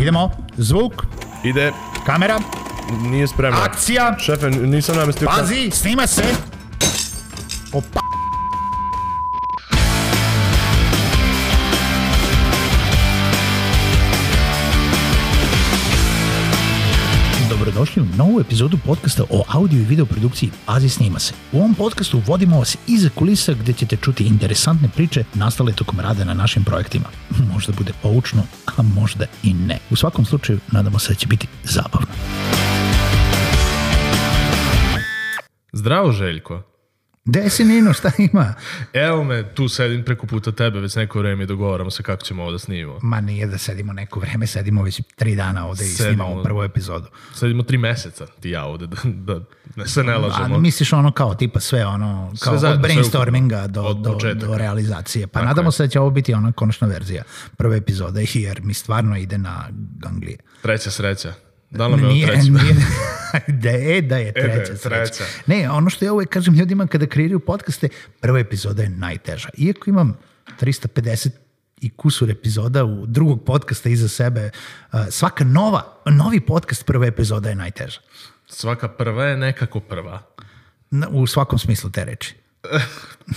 Idemo. Zvuk, Ide, kamera, nije spremno. akcija. Šefe, nisam namestio... kam- Pazi, snima se. Opa. Dobrodošli u novu epizodu podcasta o audio i video produkciji Pazi snima se. U ovom podcastu vodimo vas iza kulisa gde ćete čuti interesantne priče nastale tokom rada na našim projektima. Možda bude poučno, a možda i ne. U svakom slučaju, nadamo se da će biti zabavno. Zdravo, Željko. Gde si Nino, šta ima? Evo me, tu sedim preko puta tebe, već neko vreme i dogovaramo se kako ćemo ovo da snimimo. Ma nije da sedimo neko vreme, sedimo već tri dana ovde i Sedimo. snimamo prvu epizodu. Sedimo tri meseca, ti i ja ovde, da, da ne, se ne A lažemo. misliš ono kao tipa sve ono, kao zajedno, od sve brainstorminga do, Od do, početaka. do realizacije. Pa nadamo se da će ovo biti ona konačna verzija prve epizode, jer mi stvarno ide na ganglije. Treća sreća. Dala me od nije, treća. E, nije, da je, da je treća, je sreća. treća. Ne, ono što ja uvek kažem ljudima kada kreiraju podcaste, prva epizoda je najteža. Iako imam 350 i kusur epizoda u drugog podcasta iza sebe, a, svaka nova, novi podcast prva epizoda je najteža. Svaka prva je nekako prva. Na- U svakom smislu te reči.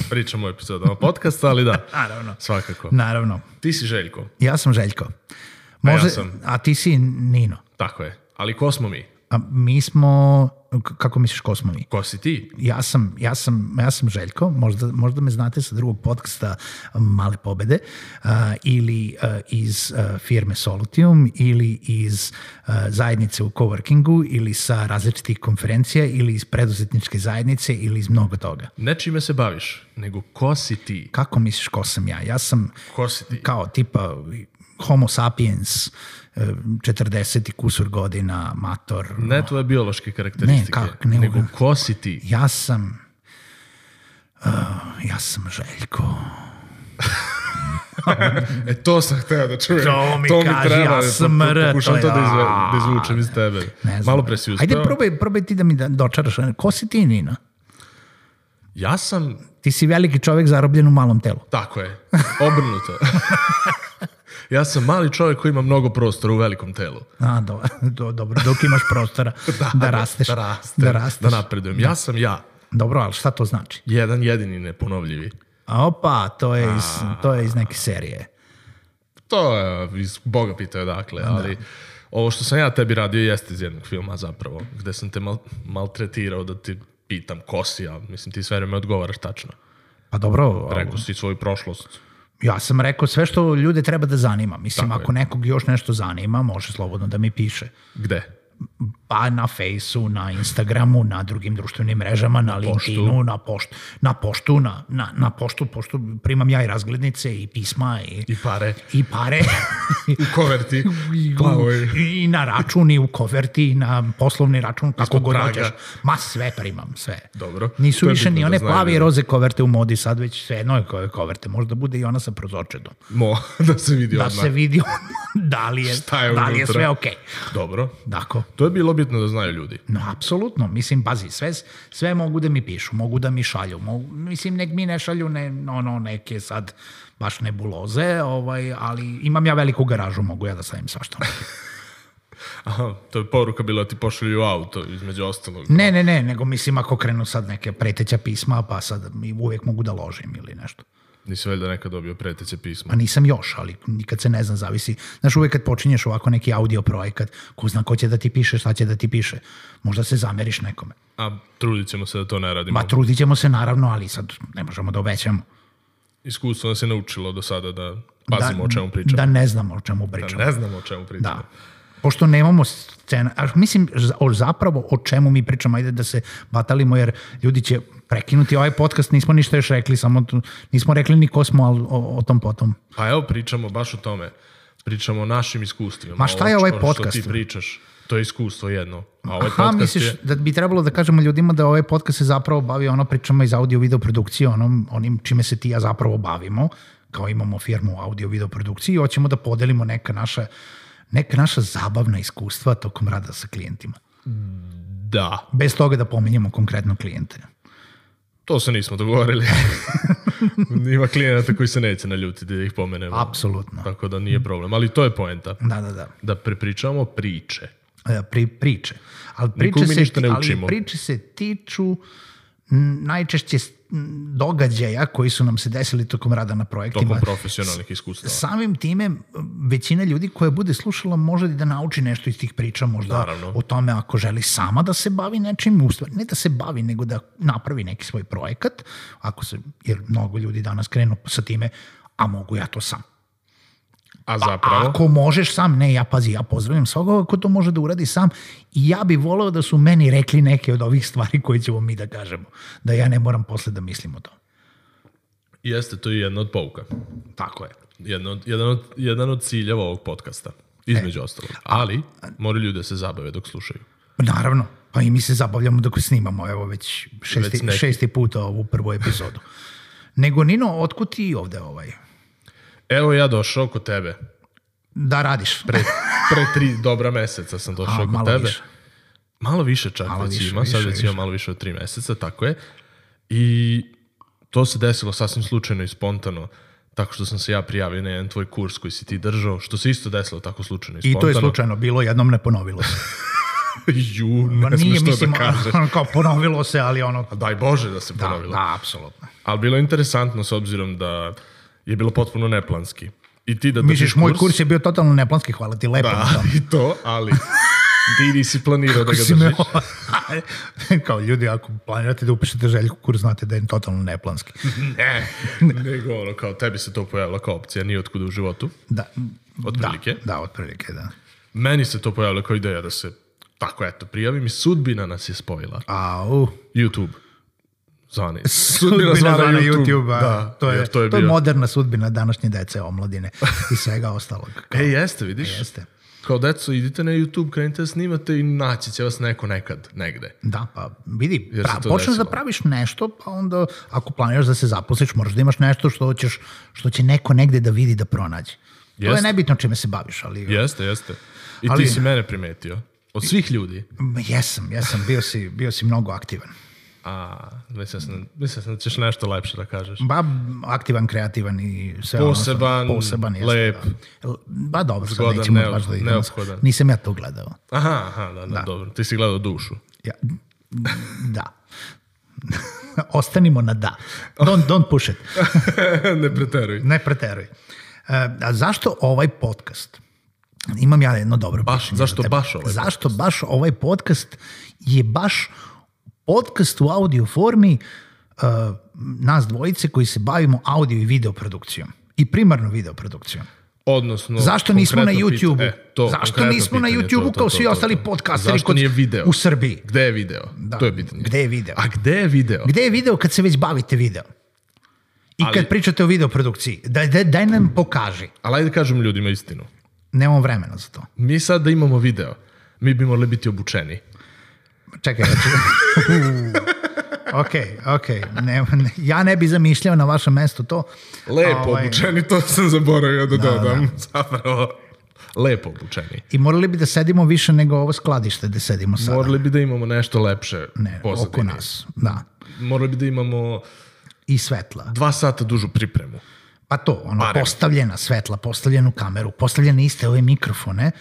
Pričamo o epizodama podcasta, ali da. Naravno. Svakako. Naravno. Ti si Željko, Ja sam Željko. ja Može, sam. a ti si Nino. tako je. Ali ko smo mi? A mi smo, k- kako misliš ko smo mi? Ko si ti? ja sam, ja sam, ja sam Željko, možda, možda me znate sa drugog podcasta Male pobede uh, ili uh, iz uh, firme Solutium ili iz uh, zajednice u coworkingu ili sa različitih konferencija ili iz preduzetničke zajednice ili iz mnogo toga. Ne čime se baviš, nego ko si ti? Kako misliš ko sam ja? Ja sam Ko si ti? kao tipa homo sapiens, e, 40 i kusur godina, mator. Ne tvoje biološke karakteristike, Ne, kak- ne nego mogu. ko si ti? Ja sam... Uh, ja sam Željko. E, to sam hteo da čujem. To mi kaži, ja sam po- po- mrt, Pokušam to da, izve, a. da izvučem iz tebe. Ne znam. Malo pre si uspeo. Ajde, probaj, probaj ti da mi da, dočaraš. Ko si ti, Nina? Ja sam, Ti si veliki čovjek zarobljen u malom telu. tako je, obrnuto. ja sam mali čovjek koji ima mnogo prostora u velikom telu. A, do, do, dobro, dok imaš prostora da, rasteš. Da rastem, Da rasteš. da napredujem. Ja sam ja, Dobro, ali šta to znači? jedan jedini neponovljivi. A opa, to je iz, to je iz neke serije. To je, iz Boga pitao dakle, ali ovo što sam ja tebi radio jeste iz jednog filma zapravo, gde sam te mal, maltretirao da ti pitam ko si, a mislim ti sve vreme odgovaraš tačno. Pa dobro, Rekao si svoju prošlost. ja sam rekao sve što ljude treba da zanima. Mislim, ako nekog još nešto zanima, može slobodno da mi piše. Gde? Pa na Fejsu, na Instagramu, na drugim društvenim mrežama, na, LinkedInu, na poštu, na poštu, na, na, na poštu, poštu primam ja i razglednice i pisma i, I pare. i pare U koverti. Pa, ovaj, I- Plavoj. i na račun i u koverti i na poslovni račun kako Ispod god praga. hoćeš. Ma sve primam, sve. Dobro. Nisu To je više bitno ni da one znaju plave i ljudi. roze koverte u modi, sad već sve jedno je koje koverte, možda bude i ona sa prozorčedom. Mo, da se vidi Da odmah. se vidi ono, da li je, Šta je da li je unutra? sve okej. Dobro. Dakle, To je bilo bitno da znaju ljudi. No, apsolutno. Mislim, pazi, sve, sve mogu da mi pišu, mogu da mi šalju. Mogu, mislim, nek mi ne šalju ne, ono, neke sad baš nebuloze, ovaj, ali imam ja veliku garažu, mogu ja da stavim svašta. Aha, to je poruka bila ti pošalju auto, između ostalog. Ne, ne, ne, nego mislim ako krenu sad neke preteća pisma, pa sad mi uvijek mogu da ložim ili nešto. Nisi valjda nekad dobio preteće pismo. Pa nisam još, ali nikad se ne zna, zavisi. Znaš, uvijek kad počinješ ovako neki audio projekat, ko zna ko će da ti piše, šta će da ti piše. Možda se zameriš nekome. A trudit ćemo se da to ne radimo. Ba, trudit ćemo se naravno, ali sad ne možemo da obećamo. Iskustvo nas je naučilo do sada da pazimo da, o čemu pričamo. Da ne znamo o čemu pričamo. ne znamo o čemu pričamo. Da. Pošto nemamo scena, a mislim za- o- zapravo o čemu mi pričamo, ajde da se batalimo jer ljudi će prekinuti ovaj podcast, nismo ništa još rekli, samo tu- nismo rekli ni ko smo, ali o, o tom potom. Pa evo pričamo baš o tome. Pričamo o našim iskustvima. Ma šta Ovo je ovaj što- podcast? Što ti pričaš, to je iskustvo jedno. A ovaj Aha, podcast misliš je... da bi trebalo da kažemo ljudima da ovaj podcast se zapravo bavi ono pričama iz audio-video produkcije, onom, onim čime se ti i ja zapravo bavimo, kao imamo firmu u audio-video produkciji i hoćemo da podelimo neka naša, neka naša zabavna iskustva tokom rada sa klijentima. Da. bez toga da pominjemo konkretno klijente. To se nismo dogovorili. Ima klijenata koji se neće naljutiti da ih pomenemo. Apsolutno. Tako da nije problem. Ali to je poenta. Da, da, da. Da prepričamo priče. E, Pri, priče. Ali priče, Nikome se, ništa ne ali učimo. priče se tiču m, najčešće s- m, događaja koji su nam se desili tokom rada na projektima. Tokom profesionalnih iskustava. Samim time, većina ljudi koja bude slušala može i da nauči nešto iz tih priča, možda Naravno. o tome ako želi sama da se bavi nečim, u stvari, ne da se bavi, nego da napravi neki svoj projekat, ako se, jer mnogo ljudi danas krenu sa time, a mogu ja to sam. A zapravo... Ako možeš sam, ne, ja pazi, ja pozdravim svakoga ko to može da uradi sam i ja bi voleo da su meni rekli neke od ovih stvari koje ćemo mi da kažemo, da ja ne moram posle da mislim o tome. Jeste, to je jedna od pouka. Tako je. Jedna od, jedan, od, jedan od ciljeva ovog podcasta. E. Između ostalog. Ali, moraju ljudi da se zabave dok slušaju. Naravno, pa i mi se zabavljamo dok snimamo, evo već šesti, Već neki. šesti puta ovu prvu epizodu. Nego Nino, otkud ti ovde ovaj? Evo ja došao kod tebe. Da radiš. Pre, pre tri dobra meseca sam došao A, kod malo tebe. više. Malo više čak Malo već više, ima. Sad više, već ima malo više od tri meseca, tako je. I to se desilo sasvim slučajno i spontano. Tako što sam se ja prijavio na jedan tvoj kurs koji si ti držao, što se isto desilo tako slučajno i I spontano. to je slučajno bilo, jednom ne ponovilo se. Pa Ju, ne smiješ Nije, to mislim, ono, da kažeš. kao ponovilo se, ali ono... Daj Bože da se Da, ponovilo. da, apsolutno. Ali bilo je interesantno s obzirom da je bilo potpuno neplanski. I ti da držiš Misliš, moj kurs je bio totalno neplanski, hvala ti lepo. na Da, tome. i to, ali ti nisi planirao da ga Si držiš. me- kao ljudi, ako planirate da upišete željku kurs, znate da je totalno neplanski. Ne, nego ono, kao tebi se to pojavilo kao opcija, nije otkuda u životu. Da, Otprilike. Da, da, otprilike, da. Meni se to pojavilo kao ideja da se tako eto prijavim i sudbina nas je spojila. Au. YouTube. Zvani. Sudbina zvana na YouTube. Da, to, je, jer to, je, bio- moderna sudbina današnje dece, omladine i svega ostalog. E, jeste, vidiš? Jeste. Kao deco, idite na YouTube, krenite da snimate i naći će vas neko nekad, negde. Da, pa vidi, Jer se pra, to počneš da desilo. praviš nešto, pa onda ako planiraš da se zaposliš, moraš da imaš nešto što, ćeš, što će neko negde da vidi, da pronađe. To je Jeste. nebitno čime se baviš, ali... Jeste, jeste. I Ali- ti si mene primetio. Od svih ljudi. Ma, Jesam, jesam, bio si, bio si mnogo aktivan. A, mislim sam, mislim sam da ćeš nešto lepše da kažeš. Ba, aktivan, kreativan i sve ono Poseban, što- Poseban, jeste, lep. Da. Ba dobro, sad Zgodan, nećemo neop- baš da idemo. neophodan. Nisam ja to gledao. Aha, aha, da, da, dobro. Ti si gledao dušu. Ja, da. Ostanimo na da. Don't, don't push it. ne preteruj. Ne preteruj. E, a zašto ovaj podcast? Imam ja jedno dobro Baš, mišljenje zašto za tebe. baš ovaj Zašto baš ovaj podcast je baš podcast u audio formi e, nas dvojice koji se bavimo audio i video produkcijom. I primarno video produkcijom. Odnosno, Zašto nismo na konkretno YouTube-u? pitanje- E, to, Zašto konkretno nismo na pitanje, to, YouTube-u to, kao to, svi to, ostali to. podcasteri Zašto kod- nije video? u Srbiji? Gde je video? To je pitanje. Gde je video? A gde je video? Gde je video kad se već bavite video? I Ali- kad pričate o video produkciji, daj, daj, daj nam pokaži. Ali ajde kažem ljudima istinu. Nemamo vremena za to. Mi sad da imamo video, mi bi morali biti obučeni. Čekaj, ja ću... ok, ok. Ne, ne, ja ne bi zamišljao na vašem mestu to. Lepo Ovaj, obučeni, to sam zaboravio da, dodam. Zapravo, lepo obučeni. I morali bi da sedimo više nego ovo skladište gde sedimo sada. Morali bi da imamo nešto lepše ne, oko pozadine. nas. Da. Morali bi da imamo I svetla. dva sata dužu pripremu. Pa to, ono, Barem. postavljena svetla, postavljenu kameru, postavljene iste ove mikrofone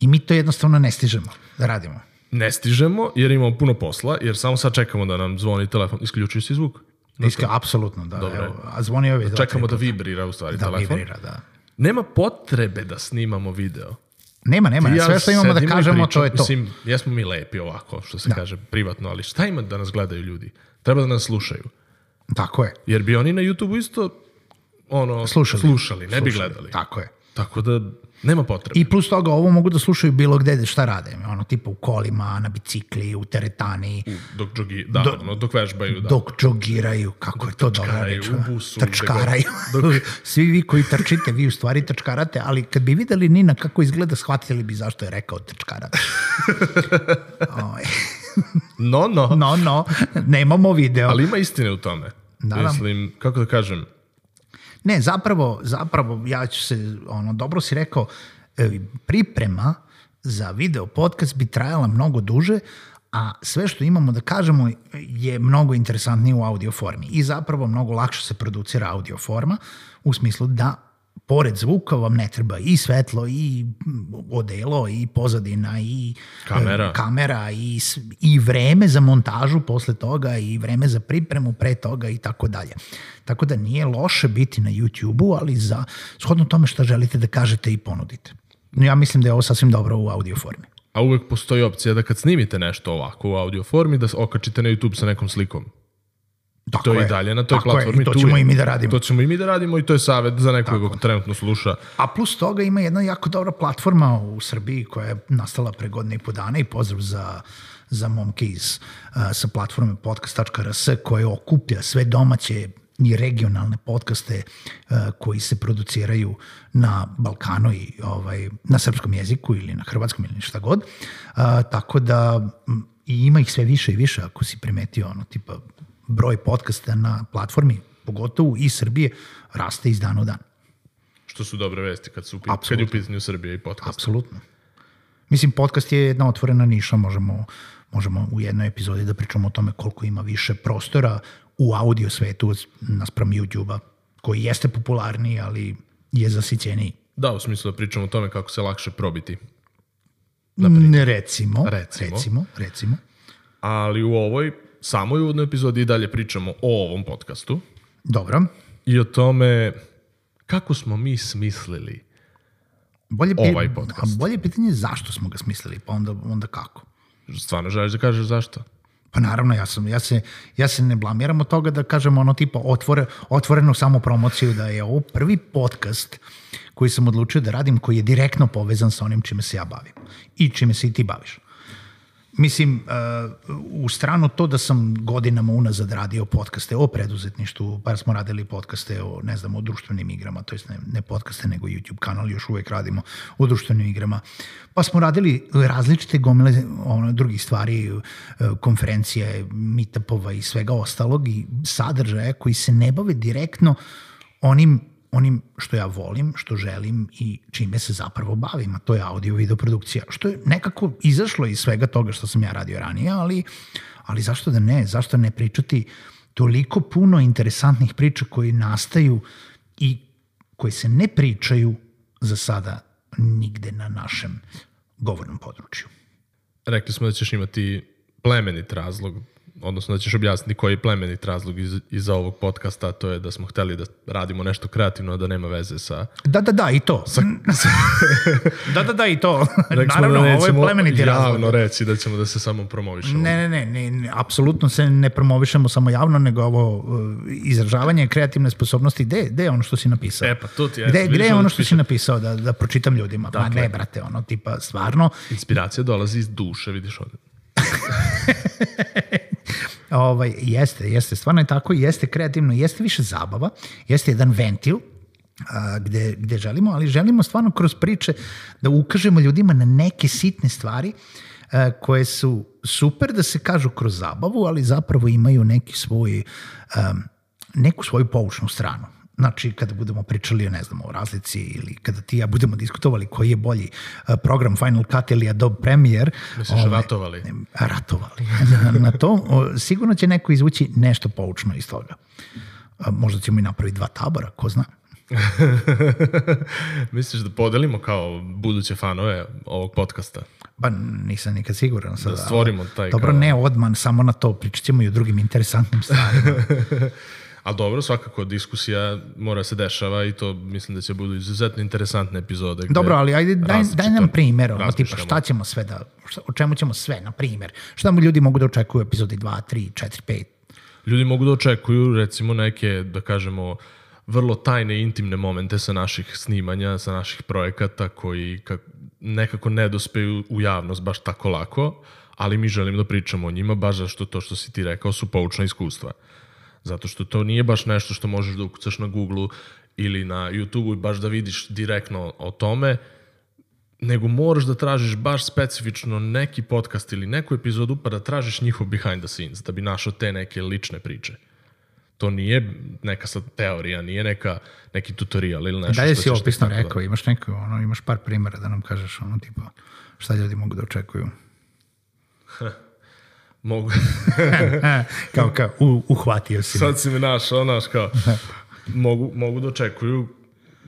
i mi to jednostavno ne stižemo da radimo. Ne stižemo jer imamo puno posla, jer samo sad čekamo da nam zvoni telefon. Isključio si zvuk. Iskra, apsolutno, da. Dobro je. Evo, a zvonio je Čekamo da vibrira u stvari da telefon. vibrira, da. Nema potrebe da snimamo video. Nema, nema, Ja Pa sve što imamo da sedimo i kažemo, pričam. to je to. Mislim, jesmo mi lepi ovako, što se kaže, privatno, ali šta ima da nas gledaju ljudi? Treba da nas slušaju. Tako je. Jer bi oni na YouTube isto ono, Slušali. slušali, ne bi Slušali, gledali. Tako je. Tako da nema potrebe. I plus toga, ovo mogu da slušaju bilo gde, šta rade. Ono, tipa u kolima, na bicikli, u teretani, Dok džogi, da, ono, dok vežbaju, da. dok džogiraju, kako je to dobra trčkaraju, reč. u busu, gde god. Trčkaraju. Svi vi koji trčite, vi u stvari trčkarate, ali kad bi videli Nina kako izgleda, shvatili bi zašto je rekao trčkarate. Ovaj, No, no. no, no, nemamo video. Ali ima istine u tome. Da, da. Mislim, kako da kažem, Ne, zapravo, zapravo, ja ću se, ono, dobro si rekao, e, priprema za video podcast bi trajala mnogo duže, a sve što imamo da kažemo je mnogo interesantnije u audio formi i zapravo mnogo lakše se producira audio forma u smislu da pored zvuka vam ne treba i svetlo i odelo i pozadina i Kamera. e, kamera i, s- i vreme za montažu posle toga i vreme za pripremu pre toga i tako dalje. Tako da nije loše biti na YouTube-u, ali za shodno tome šta želite da kažete i ponudite. No, Ja mislim da je ovo sasvim dobro u audio formi. A uvek postoji opcija da kad snimite nešto ovako u audio formi, da okačite na YouTube sa nekom slikom. Tako To je je i dalje na toj Tako platformi. Je, I to tu ćemo je. i mi da radimo. To ćemo i mi da radimo i to je savjet za nekoga ko trenutno sluša. A plus toga ima jedna jako dobra platforma u Srbiji koja je nastala pre godine i po dana i pozdrav za za momke iz uh, sa platforme podcast.rs koje okuplja sve domaće i regionalne podcaste uh, koji se produciraju na Balkanu i ovaj, na srpskom jeziku ili na hrvatskom ili šta god. Uh, tako da m, i ima ih sve više i više ako si primetio ono tipa broj podcasta na platformi, pogotovo iz Srbije, raste iz dana u dan. Što su dobre vesti kad, su, u pi- kad je u Apsolutno. pitanju Srbije i podcast. Apsolutno. Mislim, podcast je jedna otvorena niša, možemo, možemo u jednoj epizodi da pričamo o tome koliko ima više prostora u audio svetu naspram YouTube-a, koji jeste popularniji, ali je zasićeniji. Da, u smislu da pričamo o tome kako se lakše probiti. Ne, Mm, recimo, Recimo. recimo, recimo, recimo. Ali u ovoj, samoj uvodnoj epizodi i dalje pričamo o ovom podcastu Dobro. i o tome kako smo mi smislili. Bolje pi- Ovaj podcast. A bolje pitanje je zašto smo ga smislili, pa onda, onda kako? Stvarno želiš da kažeš zašto? Pa naravno, ja, sam, ja, se, ja se ne blamiram od toga da kažem ono tipa otvore, otvorenu samopromociju da je ovo prvi podcast koji sam odlučio da radim koji je direktno povezan sa onim čime se ja bavim i čime se i ti baviš. Mislim, eh, u stranu to da sam godinama unazad radio podcaste o preduzetništvu, pa smo radili podcaste o, ne znam, o društvenim igrama, to jest ne, ne podcaste, nego YouTube kanal, još uvek radimo o društvenim igrama. Pa smo radili različite gomile ono, drugih stvari, eh, konferencije, meetupova i svega ostalog i sadržaja koji se ne bave direktno onim onim što ja volim, što želim i čime se zapravo bavim, a to je audio i video produkcija, što je nekako izašlo iz svega toga što sam ja radio ranije, ali, ali zašto da ne, zašto ne pričati toliko puno interesantnih priča koji nastaju i koji se ne pričaju za sada nigde na našem govornom području. Rekli smo da ćeš imati plemenit razlog, odnosno da ćeš objasniti koji je plemenit razlog iz, iza ovog podcasta, a to je da smo hteli da radimo nešto kreativno, a da nema veze sa... Da, da, da, i to. da, da, da, i to. Rekli smo Pa Naravno, ovo da je nećemo plemeniti javno razlog. reći da ćemo da se samo promovišemo. Ne, ne, ne, ne, ne, apsolutno se ne promovišemo samo javno, nego ovo uh, izražavanje kreativne sposobnosti, gde, gde je ono što si napisao? E, pa to ti je, Gde, vidiš Dakle. gde je ono ono što što si napisao da, da pročitam ljudima? Pa ne, brate, ono, tipa, stvarno, Inspiracija dolazi iz duše, vidiš ovdje. ovaj, jeste, jeste, stvarno je tako, jeste kreativno, jeste više zabava, jeste jedan ventil a, gde, gde želimo, ali želimo stvarno kroz priče da ukažemo ljudima na neke sitne stvari a, koje su super da se kažu kroz zabavu, ali zapravo imaju neki svoj, um, neku svoju poučnu stranu. Znači, kada budemo pričali, ne znam, o razlici ili kada ti i ja budemo diskutovali koji je bolji a, program Final Cut ili Adobe Premiere, Misliš, ovaj, ratovali? ratovali na, na to, o, sigurno će neko izvući nešto poučno iz toga. A, Možda ćemo i napraviti dva tabora, ko zna. Misliš da podelimo kao buduće fanove ovog podcasta? Pa nisam nikad siguran. Sada, ali- stvorimo taj Dobro, kao- ne odman, samo na to. Pričat ćemo i o drugim interesantnim stvarima. A dobro, svakako diskusija mora se dešava i to mislim da će budu izuzetno interesantne epizode. gde Dobro, ali ajde, daj, različito daj nam primjer, ono, tipa razmišljamo. šta ćemo sve da, šta, o čemu ćemo sve, na primjer. Šta mu ljudi mogu da očekuju u epizodi 2, 3, 4, 5? Ljudi mogu da očekuju recimo neke, da kažemo, vrlo tajne i intimne momente sa naših snimanja, sa naših projekata koji ka- nekako ne dospeju u javnost baš tako lako, ali mi želimo da pričamo o njima baš zašto to što si ti rekao su poučna iskustva. Zato što to nije baš nešto što možeš da ukucaš na Google ili na YouTube-u i baš da vidiš direktno o tome, nego moraš da tražiš baš specifično neki podcast ili neku epizodu pa da tražiš njihov behind the scenes, da bi našao te neke lične priče. To nije neka sad teorija, nije neka, neki tutorial ili nešto Dalje što si ćeš opisno tek tako da- rekao, imaš, neko, ono, imaš par primjera da nam kažeš ono, tipa, šta ljudi mogu da očekuju. Mogu. E, kao, kao, u, uhvatio si. me. Sad si mi našao, znaš, kao, mogu, mogu da očekuju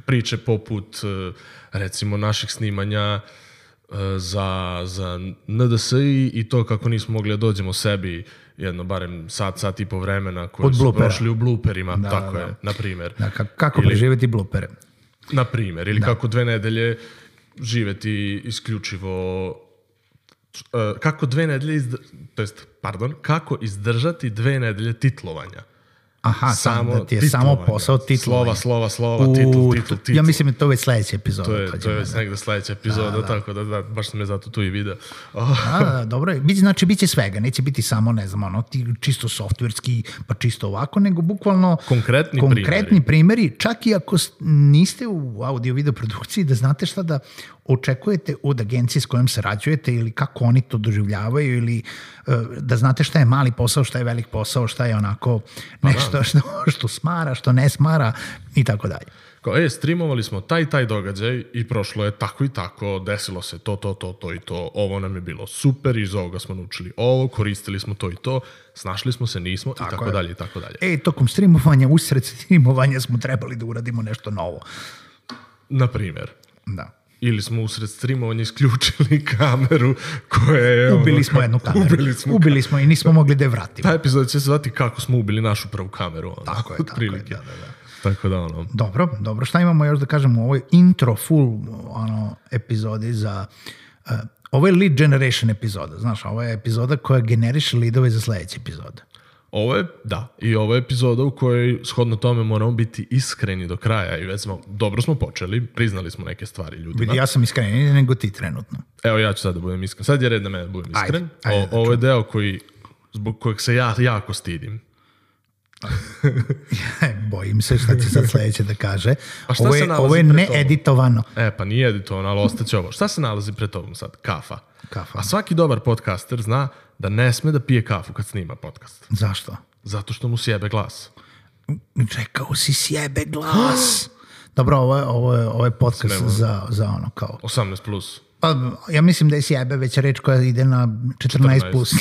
priče poput, eh, recimo, naših snimanja eh, za, za NDS i, i to kako nismo mogli da dođemo sebi jedno, barem sat, sat i po vremena koji Od su bloopera. prošli u blooperima, tako da. je, na primjer. Da, ka- kako preživjeti blupere? Na primjer, ili kako dve nedelje živeti isključivo e, kako dve nedelje izd- to jest, pardon, kako izdržati dve nedelje titlovanja. Aha, samo, da ti je samo titlovanja. posao titlovanja. ovaj, Slova, slova, slova, titl, U, titl, to- titl. Ja mislim da je to već sledeći epizod. To je, to je već negde sledeća epizoda, tako da, da, baš sam je zato tu i video. Oh, A, da, dobro je. Biće, znači, bit će svega. Neće biti samo, ne znam, ono, ti čisto softverski, pa čisto ovako, nego bukvalno Konkretni konkretni primjeri. Čak i ako s- niste u audio-video produkciji, da znate šta da očekujete od agencije s kojom sarađujete ili kako oni to doživljavaju ili e, da znate šta je mali posao, šta je velik posao, šta je onako nešto što, što smara, što ne smara i tako dalje. Kao, e, streamovali smo taj i taj događaj i prošlo je tako i tako, desilo se to, to, to, to i to, ovo nam je bilo super, iz ovoga smo naučili ovo, koristili smo to i to, snašli smo se, nismo i tako je. dalje i tako dalje. E, tokom streamovanja, usred streamovanja smo trebali da uradimo nešto novo. Na primjer, Da. ili smo usred streamovanja isključili kameru koja je... ono, Ubili smo jednu kameru. Ubili smo. Ubili smo i nismo mogli da je vratimo. Ta epizoda će se zvati kako smo ubili našu prvu kameru. Ono, Tako je, tako je, otprilike. da, da, da. Tako da, ono, Dobro, dobro. Šta imamo još da kažemo u ovoj intro full ono, epizodi za... Uh, ovo je lead generation epizoda, znaš, ovo je epizoda koja generiše leadove za sledeći epizod. Ovo je, da, i ovo je epizoda u kojoj, shodno tome, moramo biti iskreni do kraja i već smo, dobro smo počeli, priznali smo neke stvari ljudima. Vidi, ja sam iskreniji nego ti trenutno. Evo, ja ću sad da budem iskren. Sad je red na mene da budem Ajde, iskren. ajde o, ovo je deo koji, zbog kojeg se ja jako stidim. Bojim se šta će sad sledeće da kaže. A šta ovo se je, nalazi ovo je pred tobom? needitovano. E, pa nije editovano, ali ostaće ovo. Šta se nalazi pred tobom sad? Kafa. Kafa. A svaki dobar podcaster zna da ne sme da pije kafu kad snima podcast. Zašto? Zato što mu sjebe glas. Čekao si sjebe glas. Dobro, ovo je, ovo je, ovo je podcast Smemo. za, za ono kao 18 plus. Pa, ja mislim da je sjebe već reč koja ide na 14, 14. plus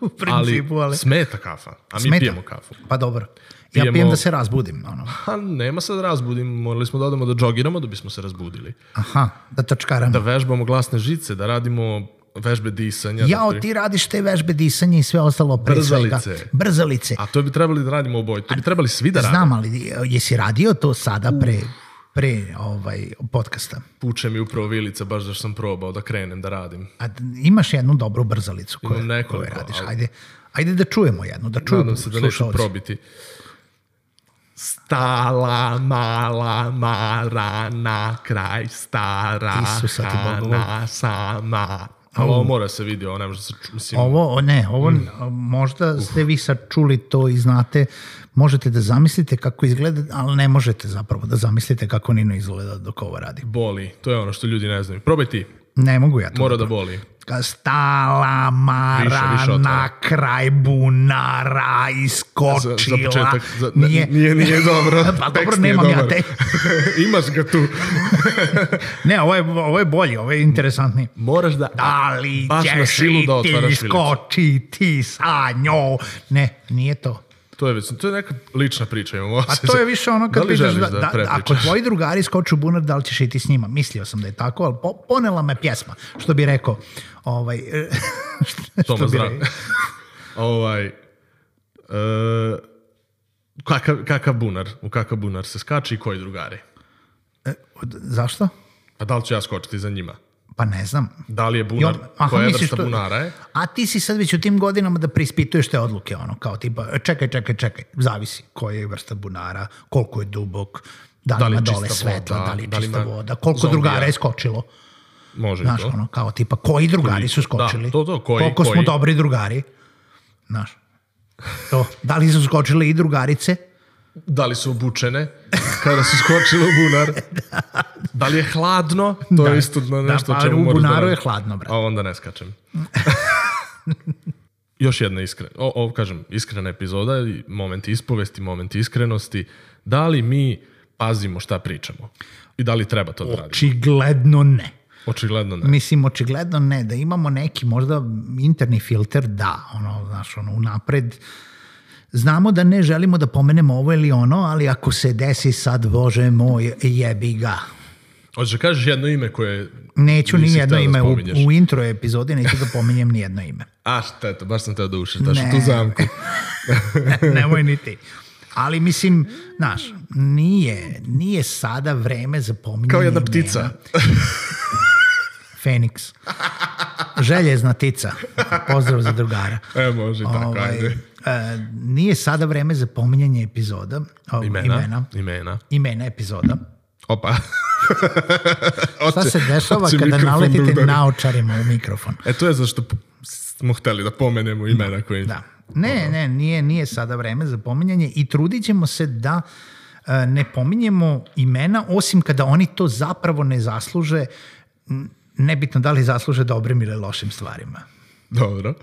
u Ali, principu, ali... smeta kafa. A mi Smeta. pijemo kafu. Pa dobro. Ja Pijemo- pijem da se razbudim. Ono. Pa nema sad razbudim, morali smo da odemo da džogiramo da bismo se razbudili. Aha, da trčkaram. Da vežbamo glasne žice, da radimo vežbe disanja. Jao, da pri- ti radiš te vežbe disanja i sve ostalo pre Brzalice. svega. Brzalice. A to bi trebali da radimo oboje, to bi trebali svi da radimo. Znam, ali jesi radio to sada pre, pre ovaj, podcasta? Puče mi upravo vilica, baš da sam probao da krenem da radim. A d- imaš jednu dobru brzalicu koju, Imam nekoliko, koju radiš. ali- Ajde, ajde da čujemo jednu, da čujemo Nadam se da neću slušaoci. probiti. Stala mala mara na kraj stara Isusa ti Bogu. hana sama. Ali ovo mora se vidi, ovo ne može se ču- mislim, Ovo, o, ne, ovo Hmm. a, možda ste vi sad čuli to i znate, možete da zamislite kako izgleda, ali ne možete zapravo da zamislite kako Nino izgleda dok ovo radi. boli. To je ono što ljudi ne znaju. Probaj ti, Ne mogu ja to. mora da boli. Ka- Stala mara Više, više od na toga. kraj bunara Za, iskočila. za početak, za, nije, nije, nije dobro. Pa Tekst dobro, nije nemam ja dobar. te. Imaš ga tu. Ne, ovo je, ovo je bolje, ovo je interesantnije. Moraš da... Da li Baš na ćeš silu i da ti otvaraš vilicu. skočiti sa njom? Ne, nije to. To je već, to je neka lična priča, imam A to je više ono kad da li vidiš želiš da, da, da, ako prepričaš? tvoji drugari skoču u bunar, da li ćeš i ti s njima? Mislio sam da je tako, ali po, ponela me pjesma, što bi rekao. Ovaj, što, Toma bi zdrav. rekao. ovaj, e, kakav, kakav bunar, u kakav bunar se skače i koji drugari? E, od- Zašto? Pa da li ću ja skočiti za njima? Pa ne znam. Da li je bunar, I on- aha, koja misliš vrsta to- bunara je? A ti si sad već u tim godinama da preispituješ te odluke, ono, kao tipa, e, čekaj, čekaj, čekaj, zavisi koja je vrsta bunara, koliko je dubok, da li, Da li je ima dole čista svetla, voda, da li je da li čista ima voda, koliko zombija. drugara je skočilo, Može i znaš, to. ono, kao tipa, koji drugari su skočili, Da, to, to, koji, koliko smo koji. dobri drugari, znaš, to, da li su skočile i drugarice, Da li su obučene kada su skočile u bunar? da. li je hladno? To Da. je isto na Da, nešto pa o čemu u moraš da bunaru je radiš. hladno, brate. A onda ne skačem. Još jedna iskrena, o, o, kažem, iskrena epizoda, i moment ispovesti, moment iskrenosti. Da li mi pazimo šta pričamo? I da li treba to da radimo? čigledno ne. Očigledno ne. Mislim, očigledno ne, da imamo neki možda interni filter, da, ono, znaš, ono, unapred, znamo da ne želimo da pomenemo ovo ili ono, ali ako se desi sad, bože moj, jebi ga. Hoćeš da kažeš jedno ime koje... Neću ni nisi jedno hteo da ime, u, spominješ? u intro epizodi neću da pominjem ni jedno ime. A šta je to, baš sam teo da ušetaš Ne. u tu zamku. Nemoj ni ti. Ali mislim, znaš, nije, nije sada vreme za pominjanje Kao jedna imena. ptica. Feniks. Željezna tica. Pozdrav za drugara. E, može i tako, ajde. e, nije sada vreme za pominjanje epizoda. o, Imena. Imena, Imena. Imena. imena epizoda. Opa. Šta Oće- se dešava oće kada mikrofon da naletite udari. naočarima u mikrofon? E, to je zašto p- smo hteli da pomenemo imena koje... Da. Ne, ne, nije, nije sada vreme za pominjanje i trudit ćemo se da e, ne pominjemo imena, osim kada oni to zapravo ne zasluže, m, nebitno da li zasluže dobrim ili lošim stvarima. Dobro.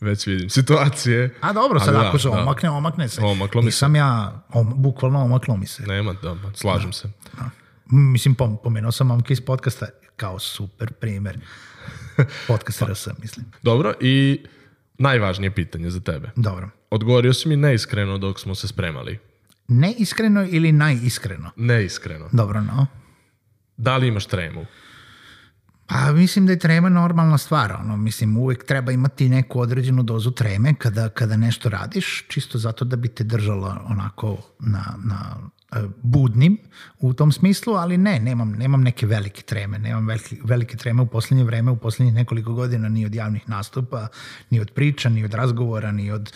Već vidim. Situacije... A dobro, sad Ali da, ako se da. omakne, omakne se. Omaklo mi se. Nisam ja, om, bukvalno omaklo mi se. Nema, da, ma, slažem se. M, Mislim, pom, pomenuo sam momke iz podcasta kao super primer. Podcast Pa. RS, mislim. Dobro, i najvažnije pitanje za tebe. Dobro. Odgovorio si mi neiskreno dok smo se spremali. Neiskreno ili najiskreno? Neiskreno. Dobro, no. Da li imaš tremu? Pa mislim da je trema normalna stvar, ono, mislim uvek treba imati neku određenu dozu treme kada, kada nešto radiš, čisto zato da bi te držala onako na, na e, budnim u tom smislu, ali ne, nemam, nemam neke velike treme, nemam velike, velike treme u poslednje vreme, u poslednjih nekoliko godina ni od javnih nastupa, ni od priča, ni od razgovora, ni od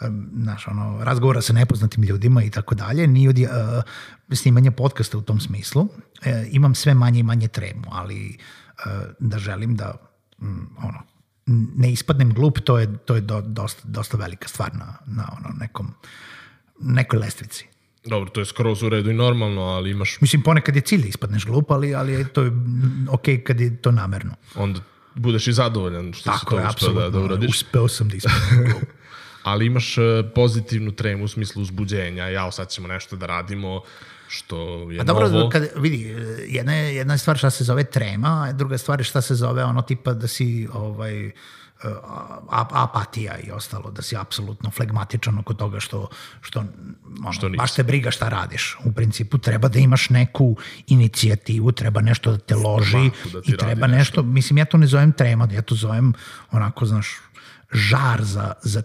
e, znaš, ono, razgovora sa nepoznatim ljudima i tako dalje, ni od e, snimanja podcasta u tom smislu. E, imam sve manje i manje tremu, ali e, da želim da mm, ono, n- ne ispadnem glup, to je, to je do, dosta, dosta velika stvar na, na ono, nekom, nekoj lestvici. Dobro, to je skroz u redu i normalno, ali imaš Mislim, ponekad je cilj da ispadneš glup, ali, ali je to je mm, okej kad je to namerno. onda budeš i zadovoljan što si Tako to je, uspeo da, da apsolutno. uradiš. uspeo sam da ispadnem glup. Ali imaš e, pozitivnu tremu u smislu uzbuđenja, jao sad ćemo nešto da radimo što je A dobro, novo. kad, vidi, jedna je, jedna je stvar šta se zove trema, a druga stvar je šta se zove ono tipa da si ovaj, a, apatija i ostalo, da si apsolutno flegmatičan oko toga što, što, ono, Što što nisi. baš te briga šta radiš. U principu treba da imaš neku inicijativu, treba nešto da te loži mahu da ti i treba radi nešto, mislim ja to ne zovem trema, ja to zovem onako, znaš, žar za, za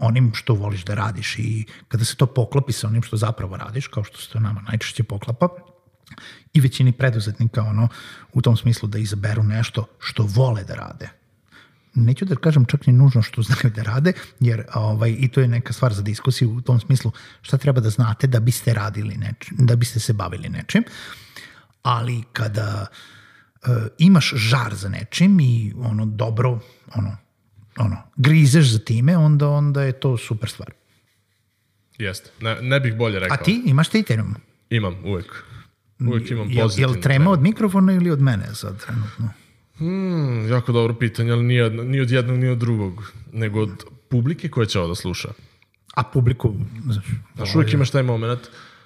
onim što voliš da radiš i kada se to poklopi sa onim što zapravo radiš, kao što se to nama najčešće poklapa, i većini preduzetnika ono, u tom smislu da izaberu nešto što vole da rade. Neću da kažem čak ni nužno što znaju da rade, jer ovaj, i to je neka stvar za diskusiju u tom smislu šta treba da znate da biste radili nečim, da biste se bavili nečim, ali kada e, imaš žar za nečim i ono dobro, ono, ono, grizeš za time, onda, onda je to super stvar. Jeste, ne, ne bih bolje rekao. A ti imaš ti tremu? Imam, uvek. Uvek imam Jel, pozitivnu jel trema od mikrofona ili od mene sad trenutno? Hmm, jako dobro pitanje, ali ni od, ni od jednog, ni od drugog, nego od publike koja će ovo da sluša. A publiku, znaš, Znaš, uvijek imaš taj moment,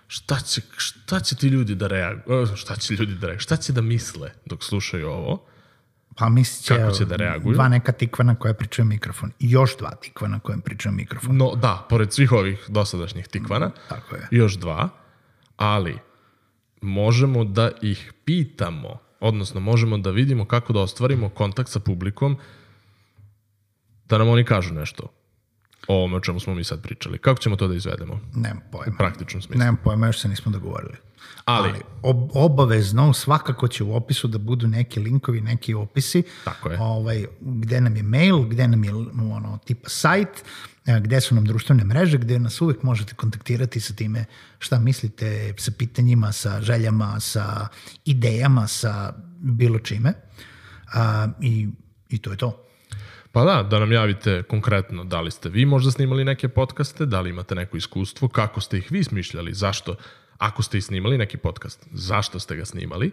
šta će, šta će ti ljudi da reaguju, šta će ljudi da reaguju, šta će da misle dok slušaju ovo, pa mislit će, Kako će da reaguju? dva neka tikva na koja pričaju mikrofon i još dva tikva na kojem pričaju mikrofon. No da, pored svih ovih dosadašnjih tikvana, Mm, Tako je. još dva, ali možemo da ih pitamo, odnosno možemo da vidimo kako da ostvarimo kontakt sa publikom, da nam oni kažu nešto o ovome o čemu smo mi sad pričali. Kako ćemo to da izvedemo? Nemam pojma. U praktičnom smislu. Nemam pojma, još se nismo dogovorili. Ali, Ob, obavezno, svakako će u opisu da budu neki linkovi, neki opisi. Tako je. Ovaj, gde nam je mail, gde nam je ono, tipa sajt, e, gde su nam društvene mreže, gde nas uvek možete kontaktirati sa time šta mislite, sa pitanjima, sa željama, sa idejama, sa bilo čime. A, i, I to je to. Pa da, da nam javite konkretno da li ste vi možda snimali neke podcaste, da li imate neko iskustvo, kako ste ih vi smišljali, zašto, ako ste i snimali neki podcast, zašto ste ga snimali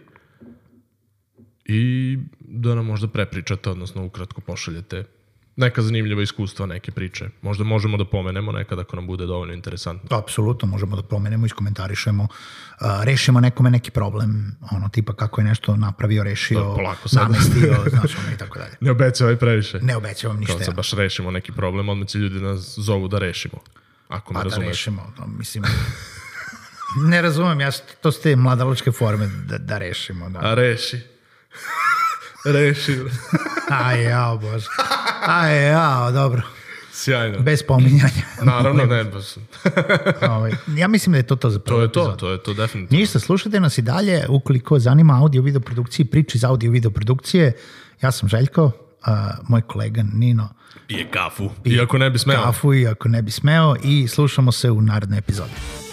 i da nam možda prepričate, odnosno ukratko pošaljete neka zanimljiva iskustva, neke priče. Možda možemo da pomenemo nekad ako nam bude dovoljno interesantno. Apsolutno, možemo da promenemo, iskomentarišemo, a, rešimo nekome neki problem, ono, tipa kako je nešto napravio, rešio, Da, polako sad. namestio, znaš, ono i tako dalje. Ne obećavaj previše. Ne obećavam ništa. Kao sad baš rešimo neki problem, odmah će ljudi nas zovu da rešimo. Ako me Pa da razumeš. rešimo, no, mislim... ne razumem, ja, s- to su te mladalačke forme da, da rešimo. Da. A reši. reši. Aj, jao, bože. Aj, jao, dobro. Sjajno. Bez pominjanja. Naravno, ne. baš. Ovaj, ja mislim da je to to za prvu To je to, epizodu. to je to definitivno. Ništa, slušajte nas i dalje. Ukoliko vas zanima audio video produkcije, priči iz audio video produkcije, ja sam Željko, a, moj kolega Nino Pije kafu. Iako ne bi smeo. Kafu i ako ne bi smeo i slušamo se u narednoj epizodi.